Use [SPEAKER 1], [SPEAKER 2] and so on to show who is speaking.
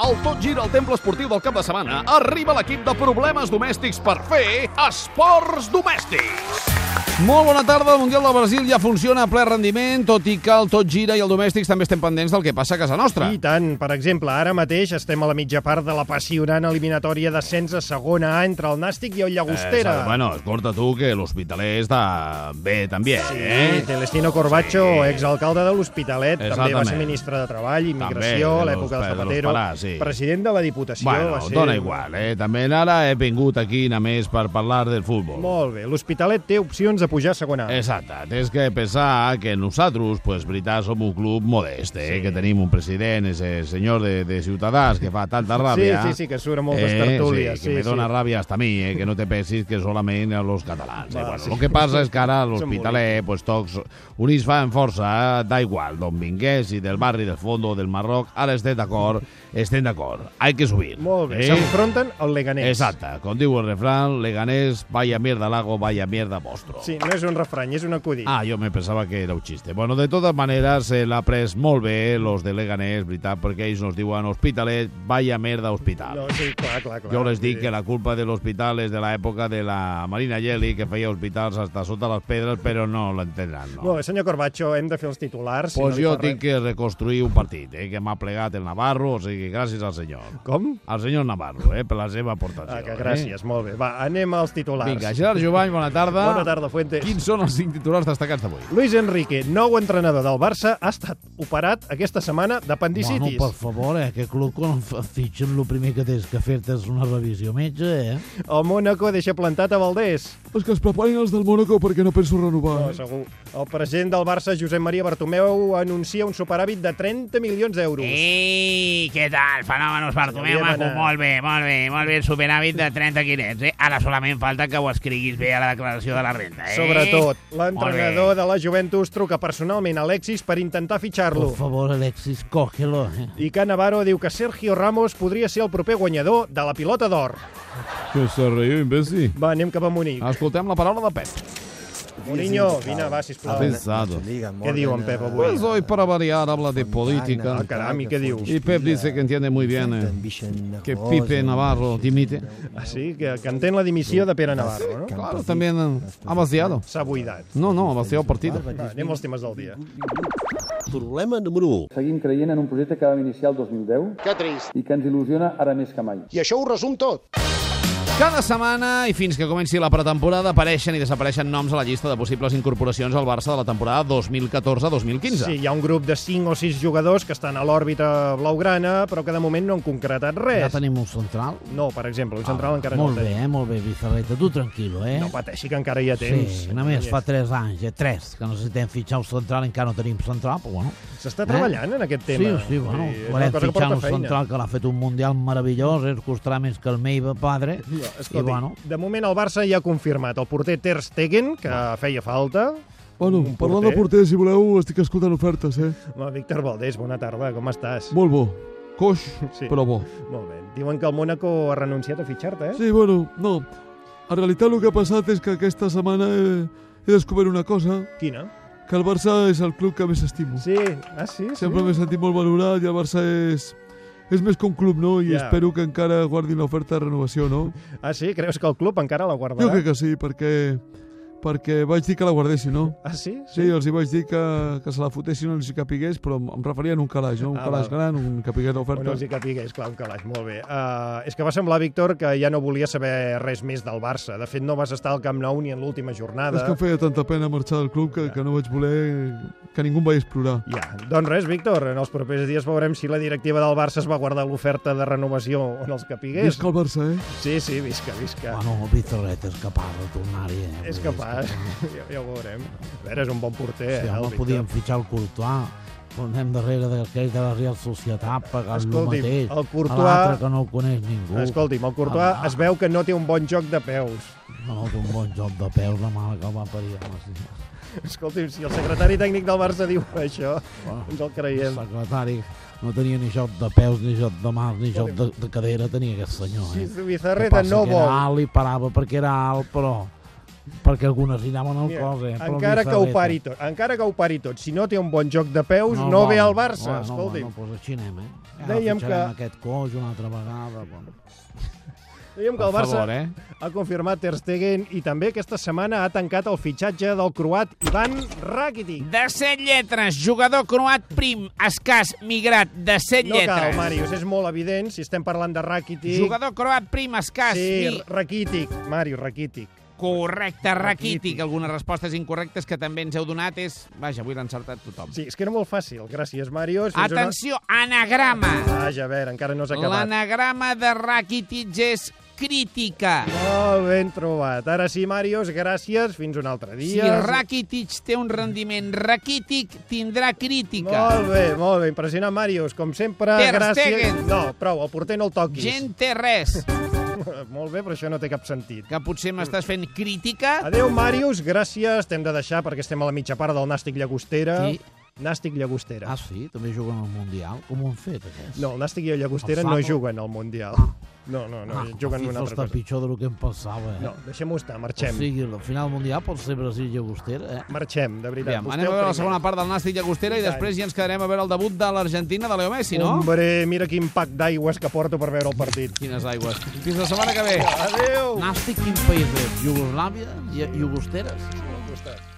[SPEAKER 1] tot gira al temple esportiu del cap de setmana, arriba l'equip de problemes domèstics per fer esports domèstics.
[SPEAKER 2] Molt bona tarda, el Mundial del Brasil ja funciona a ple rendiment, tot i que el tot gira i el domèstics també estem pendents del que passa a casa nostra.
[SPEAKER 3] I tant, per exemple, ara mateix estem a la mitja part de l'apassionant eliminatòria d'ascens a segona A entre el Nàstic i el Llagostera.
[SPEAKER 2] Eh, bueno, escolta tu que l'Hospitaler està bé també, sí, eh?
[SPEAKER 3] Celestino Corbacho, sí. exalcalde de l'Hospitalet, també va ser ministre de Treball, Immigració,
[SPEAKER 2] També, eh,
[SPEAKER 3] a l'època de
[SPEAKER 2] de
[SPEAKER 3] Zapatero,
[SPEAKER 2] l'Hospitalar, sí.
[SPEAKER 3] president de la Diputació.
[SPEAKER 2] Bueno,
[SPEAKER 3] va ser...
[SPEAKER 2] dona igual, eh? També ara he vingut aquí només per parlar del futbol.
[SPEAKER 3] Molt bé, l'Hospitalet té opcions de pujar a segona A.
[SPEAKER 2] Exacte, tens que pensar que nosaltres, pues, veritat, som un club modest, eh? Sí. que tenim un president, ese senyor de, de Ciutadans, que fa tanta ràbia... Eh,
[SPEAKER 3] sí, sí, que surt a moltes tertúlies,
[SPEAKER 2] Sí, que
[SPEAKER 3] sí,
[SPEAKER 2] me
[SPEAKER 3] sí.
[SPEAKER 2] dona ràbia hasta a mi, eh? que no te pensis que solament a los catalans.
[SPEAKER 3] Va,
[SPEAKER 2] eh? bueno,
[SPEAKER 3] sí.
[SPEAKER 2] sí. Lo que passa és que ara a l'Hospitaler, pues, tots units fan força, eh? da igual, d'on vingués, i del barri del fondo, del Marroc, ara estem d'acord, estem d'acord, hay que subir. eh?
[SPEAKER 3] Molt bé, s'enfronten al Leganés.
[SPEAKER 2] Exacte, com diu el refrán, Leganés, vaya mierda lago, vaya mierda vostro.
[SPEAKER 3] Sí, no és un refrany, és un acudit.
[SPEAKER 2] Ah, jo me pensava que era un xiste. Bueno, de totes maneres, eh, l'ha pres molt bé, eh, los de Leganés, veritat, perquè ells nos diuen hospitalet, vaya merda hospital.
[SPEAKER 3] No, sí, clar, clar, clar.
[SPEAKER 2] Jo les dic que la culpa de l'hospital és de l'època de la Marina Geli, que feia hospitals hasta sota les pedres, però no l'entendran, no?
[SPEAKER 3] Molt bé, senyor Corbacho, hem de fer els titulars.
[SPEAKER 2] Doncs pues
[SPEAKER 3] si no li
[SPEAKER 2] jo
[SPEAKER 3] fa
[SPEAKER 2] tinc
[SPEAKER 3] res.
[SPEAKER 2] que reconstruir un partit, eh, que m'ha plegat el Navarro, o sigui, gràcies al senyor.
[SPEAKER 3] Com?
[SPEAKER 2] Al senyor Navarro, eh, per la seva aportació.
[SPEAKER 3] Ah, que gràcies, molt bé. Va, anem als
[SPEAKER 2] Eh?
[SPEAKER 3] titulars.
[SPEAKER 2] Vinga, Gerard Jovany, bona tarda.
[SPEAKER 3] Bona tarda, Fuentes.
[SPEAKER 2] Quins són els cinc titulars destacats d'avui?
[SPEAKER 3] Luis Enrique, nou entrenador del Barça, ha estat operat aquesta setmana
[SPEAKER 4] Bueno,
[SPEAKER 3] d'apendicitis.
[SPEAKER 4] per favor, eh, que club quan et fitxen el primer que tens que fer-te és una revisió metge, eh?
[SPEAKER 3] El Mónaco deixa plantat a Valdés.
[SPEAKER 2] Mm.
[SPEAKER 5] Els que es preparin els del Mónaco perquè no penso renovar.
[SPEAKER 3] No, segur. El president del Barça, Josep Maria Bartomeu, anuncia un superàvit de 30 milions d'euros.
[SPEAKER 6] Eh, Ei, què tal, fenòmenos, Bartomeu?
[SPEAKER 3] Xavier
[SPEAKER 6] Maco,
[SPEAKER 3] Manà.
[SPEAKER 6] molt bé, molt bé, molt bé, el superàvit de 30 quilets, eh? Ara solament falta que ho escriguis bé a la declaració de la renta, eh?
[SPEAKER 3] Sobretot,
[SPEAKER 6] Molt
[SPEAKER 3] l'entrenador de la Juventus truca personalment a Alexis per intentar
[SPEAKER 4] Per
[SPEAKER 3] fitxar-lo.
[SPEAKER 4] favor, Alexis, cógelo, eh?
[SPEAKER 3] I Canavaro diu que Sergio Ramos podria ser el proper guanyador de la pilota d'or.
[SPEAKER 5] Que se riu, imbècil.
[SPEAKER 3] Va, anem cap a Munic.
[SPEAKER 2] Escoltem la paraula de Pep.
[SPEAKER 3] Mourinho, vine, va, sisplau.
[SPEAKER 2] Pensado.
[SPEAKER 3] Què diu en Pep avui?
[SPEAKER 2] Pues hoy para variar habla de política.
[SPEAKER 3] Ah, caram, i què diu?
[SPEAKER 2] Y Pep dice que entiende muy bien eh, que Pipe Navarro dimite.
[SPEAKER 3] Ah, sí? Que, que entén la dimissió de Pere Navarro, no?
[SPEAKER 2] Claro, también eh, ha vaciado.
[SPEAKER 3] S'ha buidat.
[SPEAKER 2] No, no, ha vaciado partido.
[SPEAKER 3] Va, anem als temes del dia.
[SPEAKER 7] Problema número 1.
[SPEAKER 8] Seguim creient en un projecte que vam iniciar el 2010
[SPEAKER 9] Que trist.
[SPEAKER 8] i que ens il·lusiona ara més que mai.
[SPEAKER 9] I això ho resum tot.
[SPEAKER 2] Cada setmana i fins que comenci la pretemporada apareixen i desapareixen noms a la llista de possibles incorporacions al Barça de la temporada 2014-2015.
[SPEAKER 3] Sí, hi ha un grup de 5 o 6 jugadors que estan a l'òrbita blaugrana, però que de moment no han concretat
[SPEAKER 4] Ja
[SPEAKER 3] res.
[SPEAKER 4] tenim un central.
[SPEAKER 3] No, per exemple, un central encara no
[SPEAKER 4] molt
[SPEAKER 3] el té.
[SPEAKER 4] bé, eh? Molt bé, Bizarreta. Tu tranquil·lo, eh?
[SPEAKER 3] No pateixi, que encara hi ha temps.
[SPEAKER 4] Sí, només fa 3 anys, eh? 3, que necessitem fitxar un central, encara no tenim central, però bueno.
[SPEAKER 3] S'està treballant en aquest
[SPEAKER 4] Eh? Sí,
[SPEAKER 3] tema.
[SPEAKER 4] sí, bueno,
[SPEAKER 3] és una
[SPEAKER 4] volem
[SPEAKER 3] cosa que
[SPEAKER 4] fitxar
[SPEAKER 3] porta
[SPEAKER 4] un
[SPEAKER 3] feina.
[SPEAKER 4] central que l'ha fet un mundial meravellós, eh? ens costarà més que el meu padre,
[SPEAKER 3] No,
[SPEAKER 4] i
[SPEAKER 3] escolti,
[SPEAKER 4] bueno,
[SPEAKER 3] de moment el Barça ja ha confirmat el porter Ter Stegen, que feia falta.
[SPEAKER 5] Bueno,
[SPEAKER 3] Un
[SPEAKER 5] parlant
[SPEAKER 3] porter.
[SPEAKER 5] de porter, si voleu, estic escoltant ofertes, eh?
[SPEAKER 3] Home, Víctor Valdés, bona tarda, com estàs?
[SPEAKER 5] Molt bo. Coix,
[SPEAKER 3] Sí.
[SPEAKER 5] sí. però bo.
[SPEAKER 3] Molt bé. Diuen que el Mónaco ha renunciat a fitxar-te, eh?
[SPEAKER 5] Sí, bueno, no. En realitat el que ha passat és que aquesta setmana he, he descobert una cosa,
[SPEAKER 3] Quina?
[SPEAKER 5] que el Barça és el club que més estimo.
[SPEAKER 3] Sí, ah, sí, sí.
[SPEAKER 5] Sempre m'he sentit molt valorat i el Barça és... És més que un club, no? I
[SPEAKER 3] Ja.
[SPEAKER 5] espero que encara guardin l'oferta de renovació, no?
[SPEAKER 3] Ah, sí? Creus que el club encara la guardarà?
[SPEAKER 5] Jo crec que sí, perquè... Perquè vaig dir que la guardessin, no?
[SPEAKER 3] Ah, sí?
[SPEAKER 5] Sí, els hi vaig dir que, que se la fotessin els que pigués, però em, em referia a un calaix, no? Un
[SPEAKER 3] Ah,
[SPEAKER 5] calaix
[SPEAKER 3] val.
[SPEAKER 5] gran, un que pigués
[SPEAKER 3] Bueno,
[SPEAKER 5] d'oferta.
[SPEAKER 3] els hi capigués, clar, un calaix, molt bé. Uh, és que va semblar, Víctor, que ja no volia saber res més del Barça. De fet, no vas estar al Camp Nou ni en l'última jornada.
[SPEAKER 5] És que em feia tanta pena marxar del club que, que no vaig voler que ningú em veiés plorar.
[SPEAKER 3] Ja, doncs res, Víctor, en els propers dies veurem si la directiva del Barça es va guardar l'oferta de renovació o no els capigués.
[SPEAKER 5] Visca el Barça, eh?
[SPEAKER 3] Sí, sí, visca, visca.
[SPEAKER 4] bueno, el Bizarreta és capaç de tornar-hi. Eh?
[SPEAKER 3] és
[SPEAKER 4] Vull dir,
[SPEAKER 3] capaç, ja, ja ho veurem. A veure, és un bon porter,
[SPEAKER 4] Sí,
[SPEAKER 3] eh,
[SPEAKER 4] home,
[SPEAKER 3] el
[SPEAKER 4] podíem
[SPEAKER 3] Víctor.
[SPEAKER 4] fitxar el Courtois, però anem darrere d'aquell de la Real Societat, pagant lo
[SPEAKER 3] Escolti'm,
[SPEAKER 4] mateix.
[SPEAKER 3] el Courtois-
[SPEAKER 4] A L'altre que no el coneix ningú.
[SPEAKER 3] Escolti'm, el Courtois
[SPEAKER 4] Ah.
[SPEAKER 3] es veu que no té un bon joc de peus.
[SPEAKER 4] No, té un bon joc de peus, la mare que el va parir. Home, sí.
[SPEAKER 3] Escolti'm, si el secretari tècnic del Barça diu això, ens el
[SPEAKER 4] El
[SPEAKER 3] creiem.
[SPEAKER 4] secretari no tenia ni joc de peus, ni joc de mans, ni joc de, de cadera, tenia aquest senyor,
[SPEAKER 3] Si
[SPEAKER 4] eh?
[SPEAKER 3] Zubizarreta
[SPEAKER 4] El que passa
[SPEAKER 3] no
[SPEAKER 4] que Era
[SPEAKER 3] vol...
[SPEAKER 4] alt i parava perquè era alt, però perquè algunes li anaven al
[SPEAKER 3] Mira,
[SPEAKER 4] cos, eh? però
[SPEAKER 3] encara
[SPEAKER 4] li
[SPEAKER 3] que ho
[SPEAKER 4] serveta.
[SPEAKER 3] pari tot, encara que ho pari tot, si no té un bon joc de peus, no,
[SPEAKER 4] vol.
[SPEAKER 3] ve al Barça,
[SPEAKER 4] Home,
[SPEAKER 3] escolti'm.
[SPEAKER 4] No, home, no, doncs així anem, eh? Ja
[SPEAKER 3] Dèiem
[SPEAKER 4] Dèiem que...
[SPEAKER 3] que-
[SPEAKER 4] aquest coix una altra vegada. Bon.
[SPEAKER 3] Dèiem que
[SPEAKER 2] Per
[SPEAKER 3] el Barça
[SPEAKER 2] favor, eh?
[SPEAKER 3] ha confirmat Ter Stegen i també aquesta setmana ha tancat el fitxatge del croat Ivan Rakitic.
[SPEAKER 6] De set lletres, jugador croat prim, escàs, migrat, de set
[SPEAKER 3] No
[SPEAKER 6] lletres.
[SPEAKER 3] cal, Màrius, és molt evident si estem parlant de Rakitic.
[SPEAKER 6] Jugador croat prim, escàs,
[SPEAKER 3] Sí,
[SPEAKER 6] mi...
[SPEAKER 3] Rakitic, Màrius, Rakitic.
[SPEAKER 6] Correcte, raquític. Algunes respostes incorrectes que també ens heu donat és... Vaja, avui l'ha encertat tothom.
[SPEAKER 3] Sí, és que era molt fàcil, gràcies, Màrius. Fins una-
[SPEAKER 6] Atenció, anagrama.
[SPEAKER 3] Vaja, a veure, encara no s'ha acabat.
[SPEAKER 6] L'anagrama de Rakitic és crítica.
[SPEAKER 3] Molt ben trobat. Ara sí, Màrius, gràcies. Fins un altre
[SPEAKER 6] Si
[SPEAKER 3] dia.
[SPEAKER 6] Rakitic té un rendiment raquític, tindrà crítica.
[SPEAKER 3] Molt bé, molt bé. Impressionant, Màrius. Com sempre,
[SPEAKER 6] Ter
[SPEAKER 3] gràcies...
[SPEAKER 6] Stegen.
[SPEAKER 3] No, prou, el porter no el toquis.
[SPEAKER 6] Gent té res,
[SPEAKER 3] Molt bé, però això no té cap sentit.
[SPEAKER 6] que potser m'estàs fent crítica.
[SPEAKER 3] Adéu, Màrius, gràcies. T'hem de deixar perquè estem a la mitja part del Nàstic Llagostera.
[SPEAKER 4] Qui?
[SPEAKER 3] Nàstic Llagostera.
[SPEAKER 4] Ah, sí? També juguen al Mundial? Com ho han fet, aquests?
[SPEAKER 3] No, el Nàstic i el Llagostera
[SPEAKER 4] El
[SPEAKER 3] no
[SPEAKER 4] Fado.
[SPEAKER 3] juguen al Mundial.
[SPEAKER 2] Ah.
[SPEAKER 3] No, no, no, juguen
[SPEAKER 4] Ah,
[SPEAKER 3] una
[SPEAKER 4] la FIFA
[SPEAKER 3] altra
[SPEAKER 4] està
[SPEAKER 3] cosa.
[SPEAKER 4] pitjor del que em pensava, eh?
[SPEAKER 3] No, deixem-ho estar,
[SPEAKER 4] O
[SPEAKER 3] marxem.
[SPEAKER 4] sigui, la final mundial pot ser Brasil i Agustera, eh?
[SPEAKER 3] Marxem, de veritat.
[SPEAKER 2] Aviam,
[SPEAKER 3] Vostè
[SPEAKER 2] anem a
[SPEAKER 3] el
[SPEAKER 2] veure la
[SPEAKER 3] primer.
[SPEAKER 2] segona part del Nàstic Llagostera i
[SPEAKER 3] tant.
[SPEAKER 2] després ja ens quedarem a veure el debut de l'Argentina de Leo Messi, no?
[SPEAKER 3] Hombre, mira quin pack d'aigües que porto per veure el partit.
[SPEAKER 2] Quines aigües. Fins la setmana que ve.
[SPEAKER 3] Adéu!
[SPEAKER 4] Nàstic, quin país és? Jugoslàvia i, i Agusteres?
[SPEAKER 3] costat.